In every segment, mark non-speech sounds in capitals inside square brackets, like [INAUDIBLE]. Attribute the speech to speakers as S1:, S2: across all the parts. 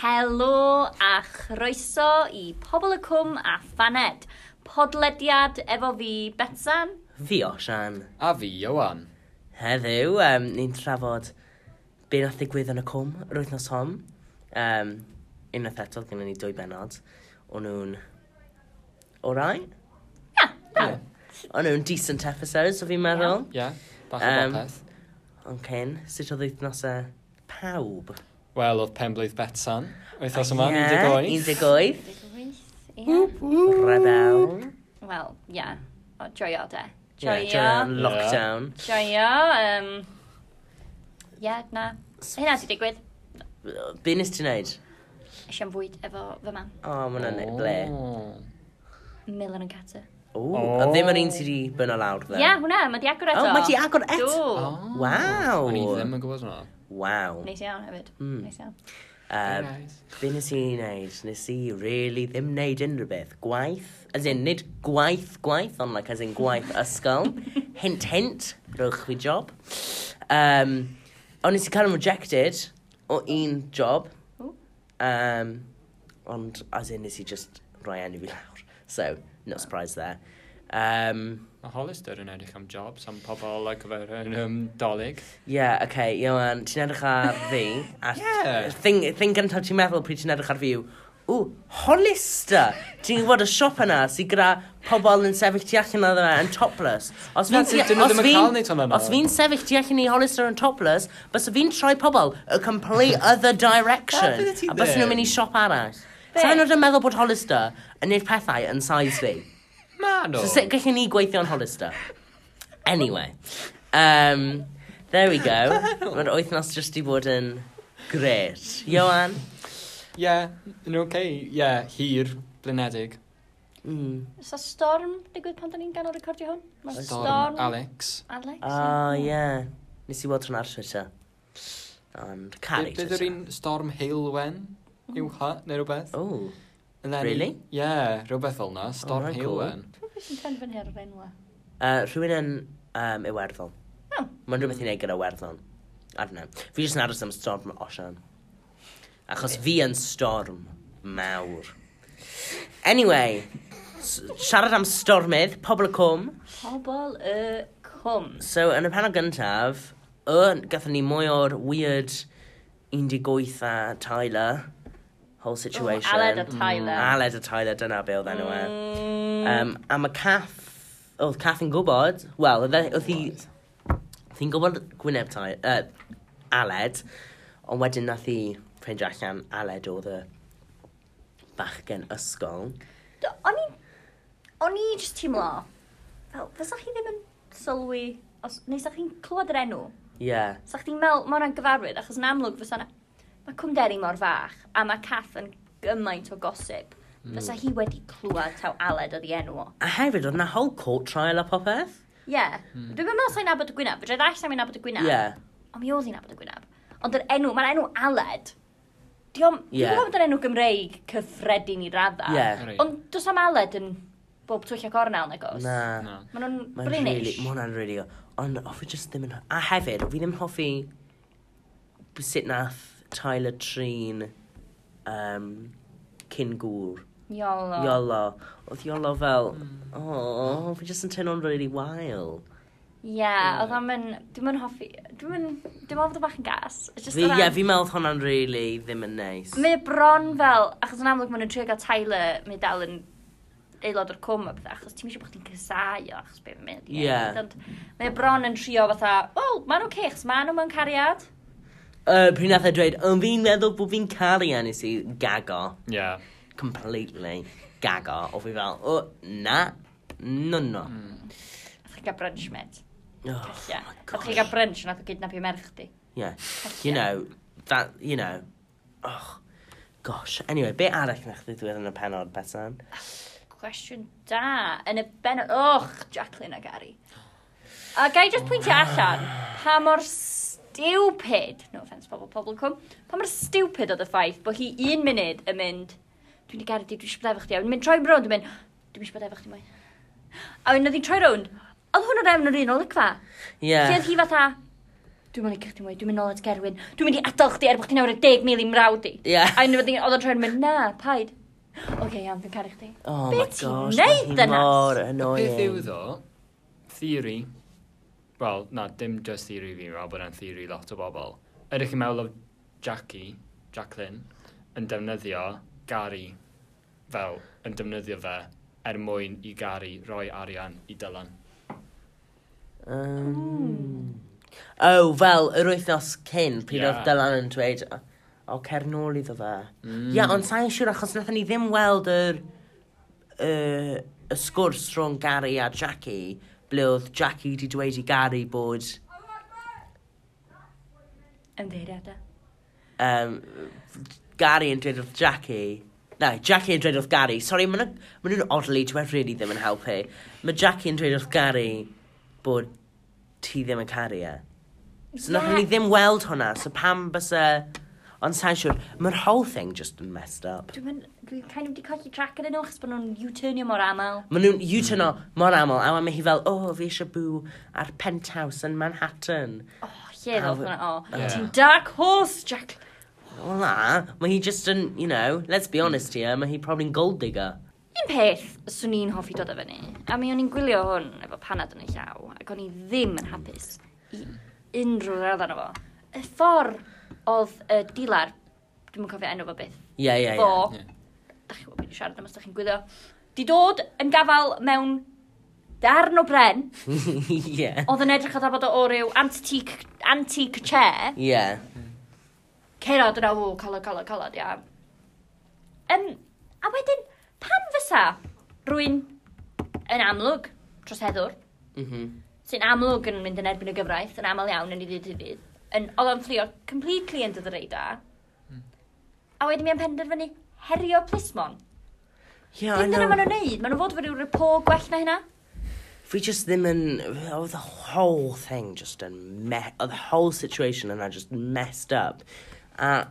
S1: Helo a chroeso i Pobl y Cwm a Phaned. Podlediad efo fi, Betsan.
S2: Fi Osian.
S3: A fi, Iwan.
S2: Heddiw, um, ni'n trafod be nath ddigwydd yn y cwm yr wythnos hon. Um, unwaith eto, gyda ni dwy benod. O'n nhw'n... All right?
S1: Ia,
S3: Ie.
S2: O'n nhw'n decent episodes, o fi'n meddwl.
S3: Ie, bach o
S2: Yym.
S3: bopeth.
S2: Ond cyn, sut oedd wythnosau pawb?
S3: Wel, oedd penblwydd Betsan. Wythnos yma, 18.
S2: 18.
S1: Ia.
S2: Rebel.
S1: Wel, ia. O, joio de.
S2: Ie,
S1: Joio.
S2: joio'n
S1: Yeah,
S2: lockdown.
S1: joio. Um, ia, na. Hynna di digwydd.
S2: Be nes ti'n neud?
S1: Eisiau'n fwyd efo fy mam.
S2: O, oh, mae'n neud ble.
S1: Millen yn Carter.
S2: O, a ddim yr un sydd wedi byn o lawr,
S1: Ia,
S2: dde.
S1: yeah, hwnna, mae di agor eto.
S2: O, mae di agor eto?
S1: Do.
S2: Waw.
S3: Oh, O'n i ddim yn gwybod hwnna.
S2: Waw.
S1: Neis iawn hefyd.
S2: Mm.
S1: Neis iawn.
S2: Um, Be nes i wneud? Nes i really ddim wneud unrhyw beth. Gwaith, as in, nid gwaith, gwaith, ond like, as in gwaith ysgol. hint, hint, rwch fi job. Um, ond nes i cael yn rejected o un job.
S1: O.
S2: Um, ond, as in, nes i just rhoi enw fi lawr. So, no surprise there. Um,
S3: Mae Hollister yn edrych am jobs am pobl ac fel yn um, dolyg.
S2: yeah, okay, Iwan, ti'n edrych ar fi.
S3: [LAUGHS]
S2: A
S3: Yeah.
S2: thing, thing gyntaf ti'n meddwl pryd ti'n edrych ar fi yw, ww, Hollister! ti'n gwybod y siop yna sy'n gyda pobl yn sefyll tu allan iddo fe yn topless. Os
S3: Na,
S2: fi'n-
S3: sut 'dyn nhw
S2: os
S3: ddim yn
S2: fi'n-
S3: cael neud hwnna nawr?
S2: Os fi'n sefyll tu allan i Hollister yn topless, bys fi'n troi pobl a
S3: [LAUGHS]
S2: complete other direction.
S3: Na, bydde ti
S2: a bys nhw'n
S3: ddim.
S2: mynd i siop arall. Sa'n nhw'n meddwl bod Hollister yn neud pethau yn size fi.
S3: Ma nhw.
S2: So sut gallwn ni gweithio yn Hollister? Anyway. Um, there we go. Mae'r wythnos jyst i fod yn gret. Johan?
S3: Ie, yn oce. Ie, hir, blinedig.
S2: Mm.
S1: Oes 'na storm digwydd pan da ni'n ganol recordio hwn? Mae'n
S3: Storm, Alex.
S1: Alex.
S2: O, oh, ie. Yeah. Nes i weld hwnna ar Twitter. Ond, caru
S3: Bydd yr
S2: Twitter.
S3: un storm heilwen yw ha, neu rhywbeth.
S2: O,
S3: And then-
S2: Oh, Really? Oh,
S3: Ie, rhywbeth fel na, storm
S2: my God.
S3: heilwen.
S1: Pwy sy'n penfynu ar yr enwa?
S2: uh, rhywun yn um, Iwerddon.
S1: O.
S2: Mae'n rhywbeth i wneud gyda Iwerddon. I don't know. Fi jyst yn aros am storm osian. Achos fi yn storm mawr. Anyway, s- siarad am stormydd, pobl y cwm.
S1: Pobl y cwm.
S2: So, yn y panel gyntaf, y gathen ni mwy o'r weird 18 a Tyler whole situation. Mm,
S1: O, Aled a Tyler.
S2: Aled a Tyler, dyna be oedd enw e.
S1: Mm.
S2: Um, a mae Cath, oedd Cath yn gwybod, wel, oedd e- oedd hi, oedd hi'n gwybod Gwyneb Tyler, uh, Aled, ond wedyn nath hi ffeindio allan Aled oedd y bachgen ysgol.
S1: Do- O'n i... O'n i jyst teimlo... Fel, fysa chi ddim yn sylwi... Os, neu sa chi'n clywed yr enw?
S2: Ie. Yeah.
S1: Sa chdi'n meddwl, mae hwnna'n gyfarwydd, achos yn amlwg fysa na... Mae cwmderi mor fach, a mae Cath yn gymaint o gosip.
S2: Hmm.
S1: Fysa hi wedi clywed taw Aled oedd i enw o.
S2: A hefyd, oedd na whole court trial a popeth.
S1: Ie. Yeah. Dwi'n meddwl sa'n nabod y gwynaf. Fydra i ddall sa'n mynd nabod y
S2: Hmm. Ie.
S1: gwynaf.
S2: Yeah.
S1: Ond mi oedd hi'n nabod y gwynaf. Ond yr enw, mae'r enw Aled. Diom,
S2: Ie.
S1: yeah. Dwi'n gwybod yr enw Gymreig cyffredin i radda.
S2: Ie.
S3: Reit.
S1: Ond does am Aled yn bob twll ac ornel na gos.
S2: Na.
S3: Na.
S1: Maen nhw'n
S2: Mae'n really,
S1: British.
S2: mae hwnna'n really o. Ond o, fi just ddim yn... A hefyd, fi ddim yn hoffi b- sut nath Tyler Trin um, cyn gŵr.
S1: Iolo.
S2: Iolo. Oedd Iolo fel... O, fi just yn teimlo'n really wael.
S1: Ie, oedd am yn... Dwi'n mynd hoffi... Dwi'n mynd... Dwi'n mynd bach yn gas. It's just
S2: Fi,
S1: o
S2: ie,
S1: ran-
S2: fi meddwl oedd hwnna'n really ddim yn neis.
S1: Mae bron fel... Achos yn amlwg maen nhw'n trio gael Tyler, mae dal yn aelod o'r cwm a bethau, achos ti'n eisiau bod chdi'n cysau o achos beth mynd.
S2: Ie.
S1: Mae bron yn trio fatha, wel, maen nhw'n cech, maen nhw mewn cariad.
S2: Uh, pryd nath e dweud, ond fi'n meddwl bod fi'n caru a nes i gago.
S3: Ie.
S2: Completely gago. O fi fel, o, na. No, no.
S1: Mm.
S3: Hmm.
S1: Nath chi gael brunch, mate.
S2: Oh,
S1: Ie.
S2: my
S1: Nath chi
S2: God.
S1: gael brunch, nath o gydnap i merch di.
S2: Yeah. You know, that, you know. Oh, gosh. Anyway, be arall na chdi ddiwedd yn y penod, Bethan?
S1: Cwestiwn da, yn y ben... Och, Jacqueline a Gary. A gai just pwyntio allan, pa mor stupid, no offence pobl, pobl cwm, pa mor stupid oedd y ffaith bod hi un munud yn mynd, dwi'n di Gary, dwi eisiau bod efo chdi, a wedyn mynd troi rownd, dwi'n mynd, dwi'n eisiau bod efo chdi mwy. A wedyn oedd hi'n troi rownd, oedd hwn o'r efn o'r un o lygfa.
S2: Yeah.
S1: Lle oedd hi fatha, Dwi'n mynd i chdi mwy, dwi'n mynd nôl at Gerwyn. Dwi'n mynd i adael chdi er bod chdi nawr y 10 mil i mrawd i.
S2: Ie.
S1: A unrhyw beth oedd o'n trwy'n mynd, na, paid. Oce, okay, iawn, dwi'n caru chdi.
S2: Oh
S1: Be
S2: my
S1: ti'n neud
S2: gosh, mae hi
S1: yna?
S2: mor
S3: Beth yw
S2: annoying.
S3: ddo? Theory. Wel, na, dim just theory fi, wel, bod e'n theory lot o bobl. Ydych chi'n meddwl o Jackie, Jacqueline, yn defnyddio Gary fel, yn defnyddio fe er mwyn i Gary roi arian i Dylan.
S2: Um, oh, fel, yr wythnos cyn, pryd
S3: Ie.
S2: oedd Dylan yn dweud, o, o cer nôl iddo fe. Ie, yeah, ond sa'n siŵr achos nathon ni ddim weld yr, uh, y sgwrs rhwng Gary a Jackie, ble oedd Jackie wedi dweud i Gary bod
S1: Ymddeiriadau.
S2: um, Gary yn dweud wrth Jackie. Na, Jackie yn dweud wrth Gary. Sorry, maen nhw- maen nhw'n oddly, dwi wedi really ddim yn helpu. Mae Jackie yn dweud wrth Gary bod ti ddim yn caru e. So yeah. ni ddim weld hwnna, so pam bysa... Ond sa'n siŵr, mae'r whole thing just yn messed up.
S1: Dwi'n mynd, dwi'n kind of wedi colli track yn nhw, achos bod nhw'n U-turnio mor aml.
S2: Maen nhw'n U-turn o mor aml, a mae hi fel, o, oh, fi eisiau bw ar penthouse yn Manhattan.
S1: Oh, lle
S2: A
S1: ddoth
S2: fy-
S1: hwnna, o.
S3: Ie.
S1: Ti'n dark horse, Jack.
S2: Wel na, mae hi just yn, you know, let's be honest here, mae hi probably'n gold digger.
S1: Un peth swn i'n hoffi dod o fyny, a mi o'n i'n gwylio hwn efo panad yn y llaw, ac o'n i ddim yn hapus i unrhyw raddan o fo. Y ffordd oedd y dilar, dwi'n yn cofio enw fo beth,
S2: Ie, ie,
S1: fo,
S2: ie.
S3: Ie.
S1: da chi'n gwybod beth i siarad am os da chi'n gwylio, di dod yn gafal mewn darn o bren,
S2: [LAUGHS] Ie.
S1: oedd yn edrych oedd a bod o ryw antique, antique chair,
S2: Ie.
S1: cerod yna, o, colod, colod, colod, ia. Um, a wedyn, pam fysa rwy'n yn amlwg dros heddwr,
S2: Mhm.
S1: sy'n amlwg yn mynd yn erbyn y gyfraith, yn aml iawn yn ei ddyd i fydd, yn, oedd o'n fflio completely yn dydd reida, a wedyn mi am penderfynu herio plismon.
S2: Ie, I
S1: Dim dyna maen
S2: know.
S1: nhw'n neud, maen nhw fod fod rhyw repo gwell na hynna.
S2: Fi just ddim yn... Oh, the whole thing just yn... Me- oh, the whole situation yna just messed up. A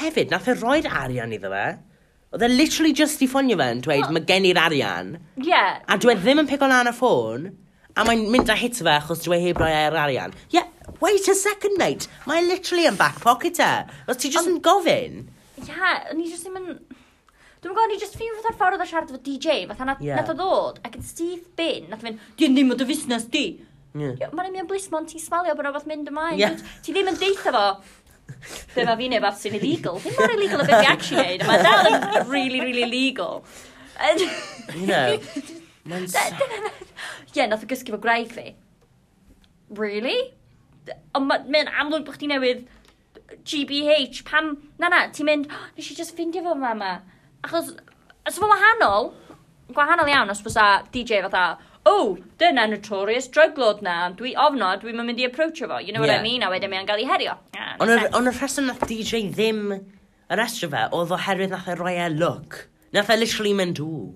S2: hefyd, nath e roed arian iddo fe. Oedd e literally just i ffonio fe yn dweud, mae gen i'r arian.
S1: Ie, yeah,
S2: A dwi e ddim yn pigo lan y ffôn. A mae'n mynd a hit fe achos dwi e heb roi e'r arian. Ie, yeah, wait a second, mate. Mae e literally yn back pocket e. Os ti just yn gofyn.
S1: yeah, o'n i jyst ddim yn... Dwi'n gwybod, o'n i jyst ffyn fatha'r ffordd oedd o siarad efo DJ, fatha nath,
S2: Ie.
S1: nath o ddod, ac yn syth bin, nath o fynd, di'n ddim o dy fusnes di.
S2: Ie.
S1: Mae'n ymwneud blismon, ti'n smalio bod rhywbeth mynd ymlaen.
S2: Ie.
S1: Ti- Ti ddim yn deitha fo. Dyma fi neb sy'n illegal. Ddim mor illegal y beth fi actually neud. Mae dal yn really, really legal. And-
S2: You know. Mae'n... s-
S1: Ie, nath o gysgu fo graig fi. Really? Ond ma- mae'n amlwg bod chdi newydd GBH. Pam, na na, ti'n mynd, "Oh, nes i just ffindio fo mama. Achos, os fo wahanol, gwahanol iawn os fysa DJ fatha, oh, dyna notorious drug lord na, dwi ofnod, dwi'n mynd i approachio fo. You know what I
S2: Ie.
S1: mean? A wedyn mae'n gael ei herio. Ah,
S2: Ond y-
S1: makes sense.
S2: ond y rheswm nath DJ ddim yr estro fe, oedd oherwydd nath e roi e look. Nath e literally mynd, ww,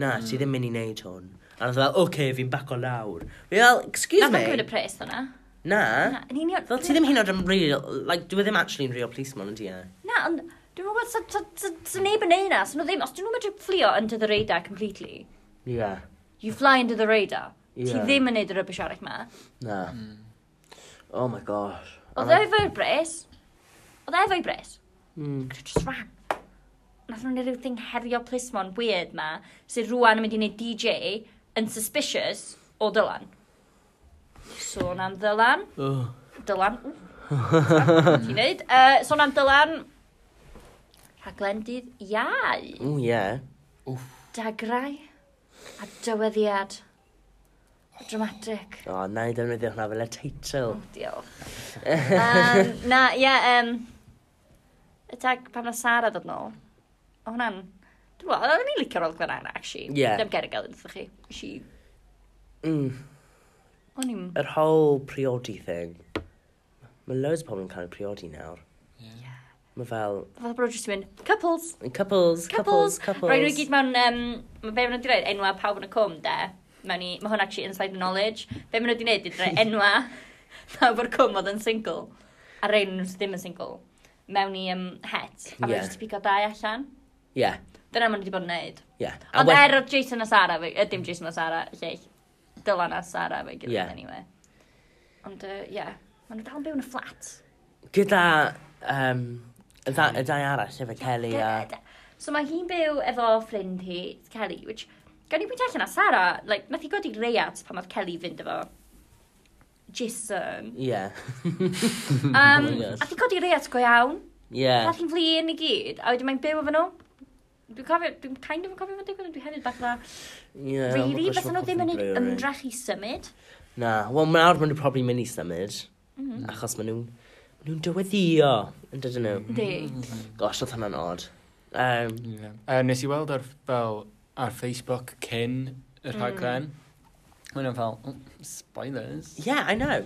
S2: na,
S1: Hmm.
S2: ti ddim mynd i wneud hwn. A nath e fel, oce, okay, fi'n baco lawr. Fi fel, excuse
S1: Nath o'n cymryd y
S2: me,
S1: pres hwnna.
S2: na.
S1: Na, yn union.
S2: Fel ti ddim hyn oed yn real, like, dwi ddim actually yn real policeman, ydy e.
S1: Na, ond dwi'n meddwl bod sa- sa- sa- sa neb yn neud na, so nhw ddim, os dyn nhw'n medru fflio under the radar completely,
S2: Ie.
S1: you fly under the radar. Ti
S2: Ie.
S1: ddim yn neud y rybys arall ma.
S2: Na. Oh my gosh.
S1: Oedd e efo'i bres, oedd e efo'i bres,
S2: Mm.
S1: gyda just ran. Nath nhw'n neud rhywbeth herio plismon weird ma, sydd rwan yn mynd i neud DJ yn suspicious o Dylan. Sôn am Dylan,
S2: Oh.
S1: Dylan, ww, ti'n [LAUGHS] neud? Uh, sôn am Dylan, rhaglen dydd iau.
S2: Ww, ie.
S1: dagrau a dyweddiad dramatic.
S2: O, na i defnyddio hwnna fel y teitl.
S1: Diolch. um, na, ie, yeah, um, y dag pan na Sara ddod nôl, o hwnna'n... Dwi'n gwybod, oedden ni'n licio'r olgfa yna, actually.
S2: Ie.
S1: Dim ger y gael, ydych chi. Si,
S2: Mm.
S1: o'n i'n...
S2: Yr whole priodi thing. Mae loads o pobl yn cael eu priodi nawr. Mae fel,
S1: Fath bod jyst yn mynd, couples,
S2: Couples, couples,
S1: couples,
S2: couples.
S1: Rhaid nhw i gyd mewn, um, mae be maen nhw wedi rhaid, enwa pawb yn y cwm, de. Mewn i, mae hwn actually inside knowledge. Be maen nhw wedi rhaid, ydy rhaid enwa [LAUGHS] pawb o'r cwm oedd yn single. A rhaid nhw sydd ddim yn single. Mewn i um, het. A yeah.
S2: Ie.
S1: rhaid i bigo dau allan.
S2: Yeah,
S1: Dyna maen nhw wedi bod yn neud.
S2: yeah. A
S1: Ond
S2: we-
S1: er oedd Jason a Sara, fe, uh, dim Jason a Sara, lleill. Dylan a Sara fe gyda
S2: Ie.
S1: yeah. anyway. Ond, yy, ie. Uh, yeah. Maen nhw dal yn byw yn y fflat.
S2: Gyda um, y da- y dau arall, efo Kelly a...
S1: So mae hi'n byw efo ffrind hi, Kelly, which gan i bwynt allan a Sarah, like, nath i godi reiat pan oedd Kelly fynd efo Jason. [LAUGHS]
S2: Ie.
S1: Um,
S2: Oh my gosh.
S1: nath i godi reiat go iawn.
S2: Mm-hmm. Ie.
S1: Nath hi'n flin i gyd, a wedyn mae'n byw efo nhw. Dwi'n cofio, dwi'n kind of yn cofio fo'n digwydd, ond dwi hefyd bach na.
S2: Ie.
S1: Really,
S2: Gosh,
S1: beth nhw
S2: mae'n
S1: ddim yn
S2: confusing,
S1: ei
S2: really.
S1: ymdrech i symud.
S2: Na, wel, mae nawr maen nhw'n probably mynd i symud.
S1: Mhm.
S2: Achos maen nhw'n... Maen nhw'n dyweddio. Yn dydyn nhw.
S1: Yndi.
S2: Gosh, oedd hwnna'n odd. Um,
S3: Yeah. Uh, Mm-hmm. nes i weld ar, fel, ar Facebook cyn y rhaglen. Mm. Mae'n fel, oh, spoilers.
S2: yeah, I know.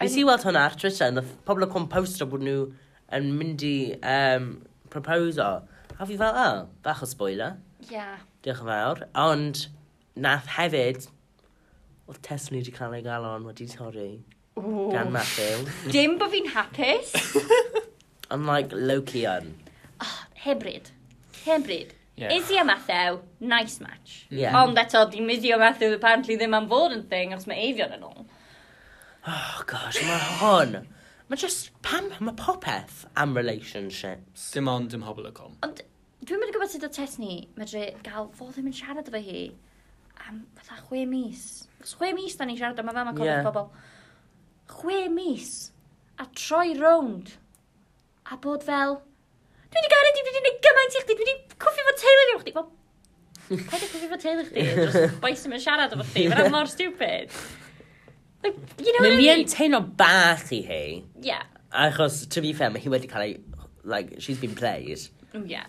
S2: Nes
S1: Yn-
S2: i weld hwnna ar Twitter, yn y ff- pobl o composter bod nhw yn mynd i um, proposo. A fi fel, oh, bach o spoiler.
S1: Ia.
S2: Diolch yn fawr. Ond, nath hefyd, oedd test ni wedi cael ei galon wedi torri gan Matthew.
S1: Dim bod fi'n
S2: [LAUGHS]
S1: hapus.
S2: I'm like, low-key on.
S1: Hebrid. Hebrid.
S3: Yeah.
S1: Yeah. Izzy a Matthew, nice match.
S2: Yeah.
S1: Ond eto, dim Izzy a Matthew apparently ddim am fod yn thing os mae Avion yn ôl.
S2: Oh gosh, mae hon. Mae just, pam, mae popeth am relationships.
S3: Dim ond ym hobl y com.
S1: Ond dwi'n mynd i gwybod sut o Tesni medru gael fo ddim yn siarad efo hi am fatha chwe mis. Os chwe mis da ni'n siarad am y fam a cofio'r
S2: Ie.
S1: yeah. bobl. Chwe mis a troi rownd a bod fel Dwi wedi gael ydi, dwi wedi gwneud gymaint i chdi, dwi wedi cwffio fo teulu fi, a chdi, fel, paid â cwffio fo teulu chdi,
S2: [LAUGHS]
S1: just boes yma'n siarad efo chdi, mae'n mor stupid. Like, you know
S2: Mae
S1: what I
S2: fi yn
S1: mean?
S2: teimlo bach i hi.
S1: Yeah,
S2: Achos, to be fair, mae hi wedi cael ei, like, she's been played
S1: Mm, yeah,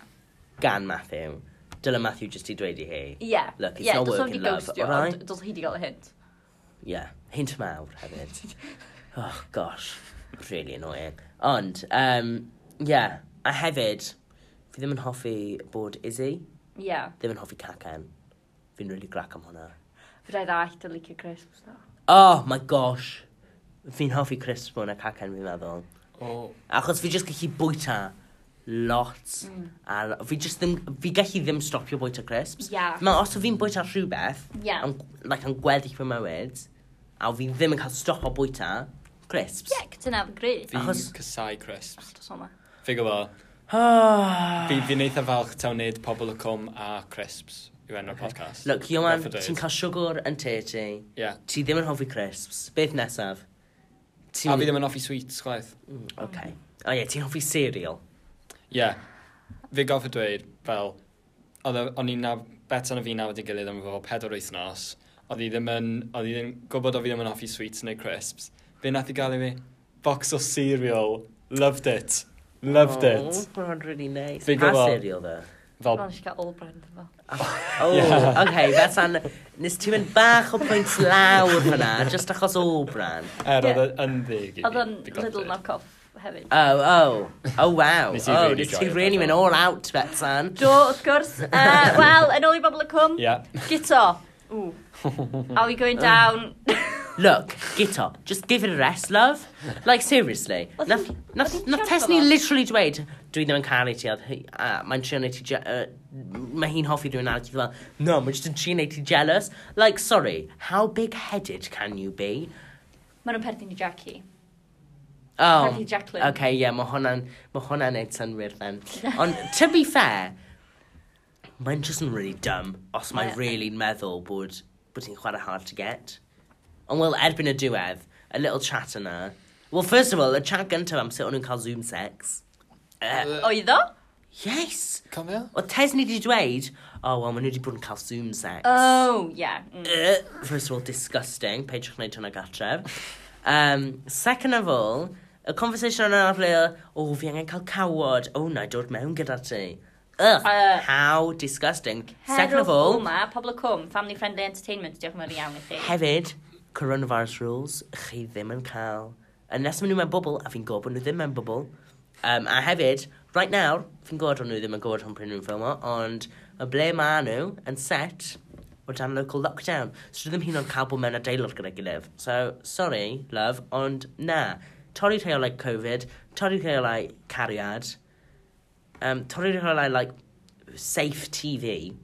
S2: gan Matthew. Dyla Matthew just i dweud i hi.
S1: yeah.
S2: Look, it's
S1: yeah,
S2: not
S1: does
S2: working,
S1: hi
S2: love,
S1: ghostio,
S2: alright?
S1: ond Does hi wedi gael y hint.
S2: Yeah, hint mawr hefyd. oh gosh, really annoying. Ond, um, yeah, a hefyd, fi ddim yn hoffi bod Izzy,
S1: Yeah.
S2: ddim yn hoffi cacen. Fi'n really grac am hwnna.
S1: Fydda i ddallt yn licio crisps, ddo.
S2: Oh my gosh, fi'n hoffi crisps mwy na cacen fi'n meddwl.
S3: O,
S2: Achos fi jyst gallu bwyta lot. Mm. A fi jyst ddim, fi gallu ddim stopio bwyta crisps.
S1: Ia.
S2: Ma, os o fi'n bwyta rhywbeth,
S1: Ie.
S2: am- like, yn gweddi fy mywyd, a fi ddim yn cael stopo bwyta crisps. [SIGHS]
S1: Ie, cytuno, fy gryf.
S3: fi'n
S2: Achos-
S3: casau crisps.
S1: Dos o'ma.
S3: Fi gwybod.
S2: Ah.
S3: Fi fi'n eitha falch taw wneud pobl y com a crisps yw enw'r podcast.
S2: Look, Iwan,
S3: Definitely.
S2: ti'n cael siwgr yn te ti.
S3: Ie.
S2: Ti ddim yn hoffi crisps. Beth nesaf? Ti...
S3: A fi ddim yn offi sweets, gwaith.
S2: Mm, Okay. O ie, ti'n hoffi cereal.
S3: Ie. Fi goffa dweud, fel, oedd y- o'n i'n naw, bet o'n y fi nawr i gilydd am fel pedwar wythnos, oedd i ddim yn, oedd i ddim, gwybod o fi ddim yn hoffi sweets neu crisps, fe nath i gael i mi, box o cereal, loved it, loved
S2: Oh,
S3: it.
S2: mae'n really nice.
S3: Fi
S2: Pa
S3: gwbo.
S2: cereal dda?
S1: Mae'n
S3: Fel,
S1: eisiau cael all brand efo.
S2: Oh,
S3: Ie.
S2: okay, that's an... Nes ti'n mynd bach o pwynt lawr fyna, just achos o bran.
S3: er,
S1: Ie.
S3: oedd y- yn ddig i fi,
S1: Oedd o'n
S3: fi goffa
S1: little
S3: dweud.
S1: knock-off hefyd.
S2: Oh, oh. Oh, wow.
S3: Nes i
S2: oh,
S3: really
S2: nes
S3: joio
S2: ti
S3: fe,
S2: really
S3: do.
S2: mynd all out, Betsan.
S1: Do, wrth gwrs.
S3: [LAUGHS]
S1: Uh, Wel, yn ôl i bobl y cwm.
S3: Ie.
S1: Gito. Ooh.
S3: [LAUGHS]
S1: Are we going down? [LAUGHS]
S2: Look, get up. Just give it a rest, love. Like, seriously.
S1: Oedd
S2: Nath,
S1: hi'n-
S2: nath,
S1: oedd hi'n
S2: nath
S1: siarad
S2: Tesni
S1: fel 'na?
S2: literally dweud, dwi ddim yn caru ti, oedd hi- a mae'n trio neud ti... je- yy, Mae hi'n hoffi dwi'n arall, fel, no, mae'n just yn trio neud ti jealous. Like, sorry, how big-headed can you be?
S1: Mae nhw'n perthyn i Jackie.
S2: Oh,
S1: Harry Jacqueline.
S2: okay, yeah, mae hwnna'n, mae hwnna'n neud synwyr then. Ond, to be fair, mae'n just yn really dumb os mae'n
S1: Ie.
S2: really meddwl bod, bod ti'n chwarae hard to get. Ond, wel, erbyn y diwedd, a little chat yna. Well, first of all, y chat gyntaf am sut o'n nhw'n cael Zoom sex. Uh,
S1: Oedd o?
S2: yes!
S3: Cofio?
S2: O Tesni wedi dweud, oh, well, maen nhw wedi bod yn cael Zoom sex.
S1: Oh, yeah. mm.
S2: Uh, first of all, disgusting. Peidiwch gwneud hwnna gartref. Um, second of all, y conversation yna ar le, o, fi angen cael cawod. O, na, i dod mewn gyda ti. Ugh,
S1: Uh,
S2: how disgusting. Second
S1: Cerwch
S2: of all,
S1: Oma, pobl y cwm, family friendly entertainment, diolch yn fawr iawn i chi.
S2: hefyd, coronavirus rules, chi ddim yn cael. Unless maen nhw mewn bobl, a fi'n gwybod bod nhw ddim mewn bobl. Um, a hefyd, right now, fi'n gwybod o'n nhw ddim yn gwybod hwn pryn nhw'n ffilmo, ond y ble maen nhw yn set o dan local lockdown. So dwi ddim hyn o'n cael bod mewn adeilod gyda gilydd. So, sorry, love, ond na. Torri rheolau Covid, torri rheolau cariad, um, torri rheolau, like, safe TV.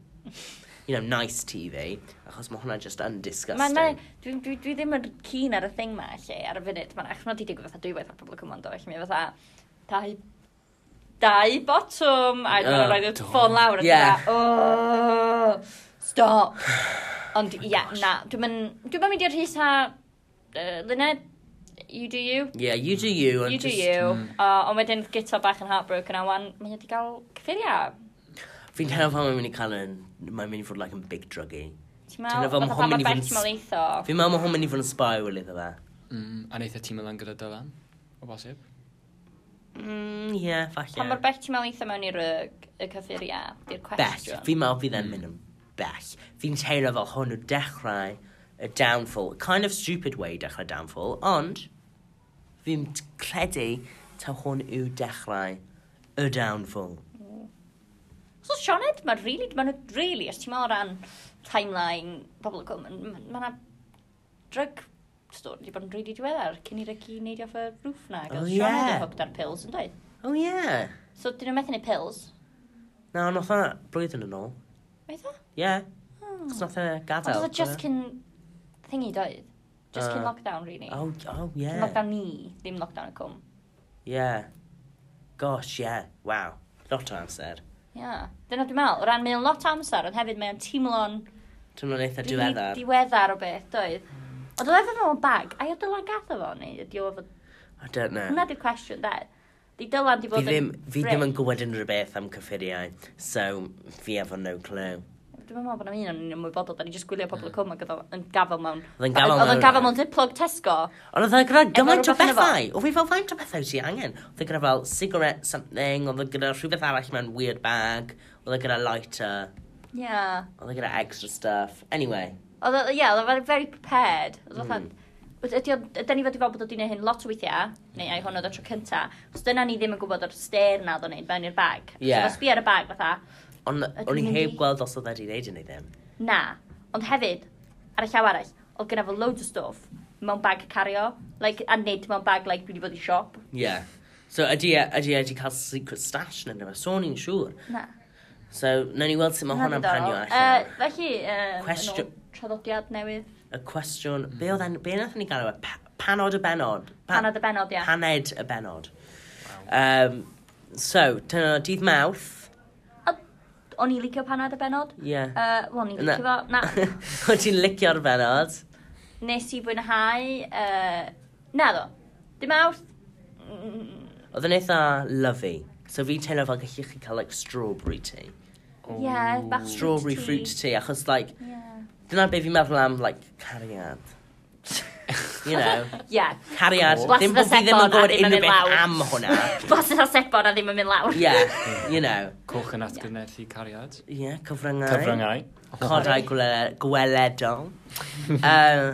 S2: you know, nice TV, achos mae hwnna just yn
S1: Mae'n ma,
S2: disgusting.
S1: dwi, dwi, dwi ddim yn keen ar y thing ma, lle, ar y funud. Mae'n achos mae'n di digwydd fatha dwywaith ar pobl y cymwnd o, lle mi fatha dau, dau botwm, a dwi'n
S2: Oh,
S1: rhoi y
S2: do.
S1: ffôn lawr a
S2: Yeah.
S1: yeah. oh,
S2: [SIGHS]
S1: stop.
S2: Oh
S1: Ond ie, yeah, na, dwi'n mynd, dwi'n mynd i'r rhys a uh, Lyned, you do you.
S2: Yeah, you do you. and
S1: You do
S2: just-
S1: you.
S3: Mm.
S1: Uh, ond wedyn gyto bach yn heartbroken a wan, mae wedi cael cyffuria.
S2: Fi'n teimlo fel mae'n mynd i cael yn... Mae'n mynd i fod like yn big druggy.
S1: Ti'n
S2: Dyna
S1: meddwl,
S2: fo, ma'
S1: fatha
S2: hwn
S1: pan mae
S2: mynd i fod yn
S1: bent
S2: s-
S1: mae'n eitho.
S2: Fi'n meddwl mae hwn mynd i fod yn spiral iddo fe.
S3: Mm, a neitha ti'n mynd gyda Dylan, o bosib.
S2: Mm, yeah, falle.
S1: Pan mae'r bell mewn eitha mewn i'r yy, y cyffuria, di'r
S2: bell.
S1: cwestiwn.
S2: Fi'n meddwl fydd e'n
S3: Mm.
S2: mynd yn bell. Fi'n teimlo fel hwn yw dechrau y downfall. Kind of stupid way dechrau downfall, ond fi'n t- credu ta hwn yw dechrau y downfall.
S1: So Sioned, mae'n rili, really, mae'n rili, really, os ti'n meddwl o ran timeline, pobl y cwm, mae'n drug store wedi bod yn rili diweddar, cyn i'r egi neidio off y roof na,
S2: Oh,
S1: gael Sioned
S2: yeah.
S1: yn hooked ar pills, yn dweud.
S2: Oh yeah.
S1: So, dyn nhw'n methu neud pills.
S2: Na, no, nath hwnna blwyddyn yn ôl.
S1: Oedd o?
S2: Yeah, e
S1: Hmm.
S2: chos nath hwnna
S1: Ond
S2: gadael.
S1: oedd o just cyn thingy doedd. Just cyn
S2: Uh,
S1: lockdown, really.
S2: Oh, oh,
S1: Cyn
S2: yeah.
S1: Lockdown ni, ddim lockdown y cwm.
S2: Yeah. Gosh, yeah. Wow. Lot o amser.
S1: Yeah. Dyna dwi'n meddwl, o ran mae'n lot o amser, ond hefyd mae'n teimlo'n
S2: Tymlo'n eitha
S1: Rili
S2: diweddar.
S1: Diweddar o beth, doedd. Oedd o efo mewn bag, a i o dylan gatho fo, neu ydi o efo...
S2: I don't know.
S1: Hwna di'r cwestiwn, de. Di dylan di
S2: Fi
S1: bod
S2: ddim, fi ddim yn
S1: frick.
S2: gwybod unrhyw beth am cyffuriau, so fi efo no clue.
S1: Dwi'n meddwl bod am un o'n ni'n ymwybodol, da ni jyst gwylio pobl y cwm ac oedd o- yn gafel mewn...
S2: Oedd yn gafel
S1: Oedd
S2: mewn-
S1: yn gafel mewn diplog Tesco.
S2: Ond oedd e gyda gymaint o
S1: rhywbeth ynddo fo?
S2: bethau. Oedd fi fel faint o bethau ti angen. Oedd e gyda fel cigarette something, oedd e gyda rhywbeth arall mewn weird bag, oedd e gyda lighter,
S1: Ie.
S2: oedd e gyda extra stuff. Anyway,
S1: Oedd o, ie, oedd o'n very prepared. Oedd o'n...
S2: Mm.
S1: Ydy o, ydy ni fod i fel bod o di wneud hyn lot o weithiau, neu ai hwn oedd o tro cynta, os dyna ni ddim yn gwybod o'r stair na oedd o'n neud mewn i'r bag.
S2: Ie.
S1: So, sbi ar y bag, fatha,
S2: ond
S1: Ydyn
S2: o'n i
S1: nhw'n
S2: heb
S1: di-
S2: gweld os oedd e wedi gwneud yn ei ddim.
S1: Na, ond hefyd, ar y llaw arall, oedd gyda fo loads o stuff mewn bag cario, like, a nid mewn bag, like, dwi wedi bod i siop.
S2: Yeah. So ydy e ydy e wedi cael secret stash yn yma, so ni'n siŵr.
S1: Na.
S2: So, nawn ni weld sut mae hwnna'n panio
S1: Uh,
S2: allan.
S1: felly, um,
S2: Cwestiwn-
S1: traddodiad newydd,
S2: Y cwestiwn, be oedd e'n, be nath ni gael yma? Panod y benod. Pa-
S1: panad y benod, ia.
S2: Paned y benod. Um, so, dyna dydd mawth.
S1: O'n i licio panad y benod?
S2: Yeah.
S1: Uh, Wel, o'n i'n
S2: Na.
S1: licio fo. Na,
S2: [LAUGHS] Wyt ti'n licio'r benod?
S1: nes i fwynhau, uh, na ddo, dim awth, Mm,
S2: Oedd yn eitha lovey. So fi'n teimlo fel gallech chi cael like strawberry tea.
S1: Ie, bach-
S2: Strawberry fruit
S1: Fruit
S2: tea. Achos like,
S1: ie.
S2: dyna be fi'n meddwl am like cariad. [LAUGHS] You know,
S1: [LAUGHS] Ie,
S2: cariad.
S1: Blas
S2: Ddim
S1: fy
S2: bod fi ddim
S1: sebon a
S2: yn gwybod
S1: ddim yn
S2: unrhyw
S1: mynd
S2: beth
S1: lawr.
S2: am
S1: [LAUGHS]
S2: hwnna.
S1: bosyn a sebon a ddim yn mynd lawr. [LAUGHS]
S2: Yeah, you know.
S3: Coch yn atgynnethu cariad.
S2: Yeah, cyfryngau.
S3: Cyfryngau.
S2: Codau gwle- gweledol. um,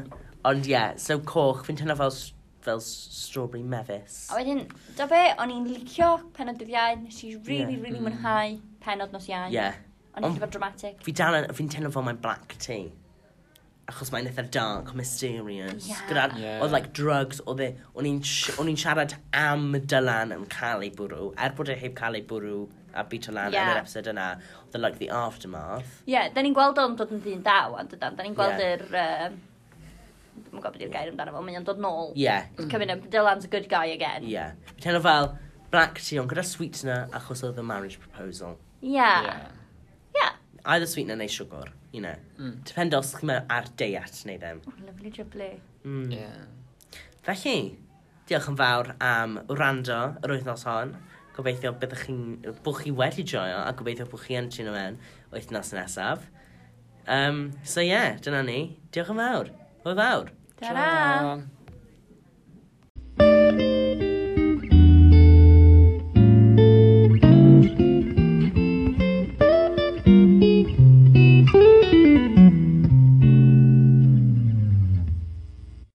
S2: ond ie, yeah, so coch, fi'n teimlo fel, s- fel s- strawberry mefus.
S1: A wedyn, da be, o'n i'n licio penod dydd iau, nes i really,
S2: Ie.
S1: really
S3: Mm.
S1: mwynhau penod nos iau.
S2: Ie. Yeah.
S1: O'n i'n
S2: Ond-
S1: fod dramatic.
S2: Fi dal yn, fi'n teimlo fel mae'n black tea. Achos mae'n eitha dark, mysterious.
S1: Ie.
S2: Gyda,
S3: Ie.
S2: oedd like drugs, oedd e, o'n i'n si- o'n i'n siarad am Dylan yn cael ei bwrw, er bod e heb cael ei bwrw a bit o lan yn
S1: Ie.
S2: yr episod yna, oedd e like the aftermath.
S1: Ie, yeah, da ni'n gweld o'n dod yn ddyn daw, a dydan, da ni'n gweld
S2: Ie.
S1: yr... yym, Dwi'm yn gwybod beth yw'r gair amdano fo, mae'n dod nôl.
S2: Ie, yeah,
S1: Cyfyn up, Dylan's a good guy again.
S2: ie. Yeah. Fi'n teimlo fel black tea, ond gyda sweetener achos oedd y marriage proposal.
S1: Ie. Ie.
S2: Either sweetener neu siwgr, you know.
S3: Mm.
S2: Depend os mae ar deiat neu ddim.
S1: O, Lyflu jyblu.
S2: Mm.
S3: Ie.
S2: Felly, diolch yn fawr am wrando yr wythnos hon. Gobeithio byddwch chi'n... bwch chi wedi joio a gobeithio bwch chi yn trin yma'n wythnos nesaf. Um, so ie, yeah, dyna ni. Diolch yn fawr. Hwyl fawr.
S1: Ta-ra!
S3: Ta-ra.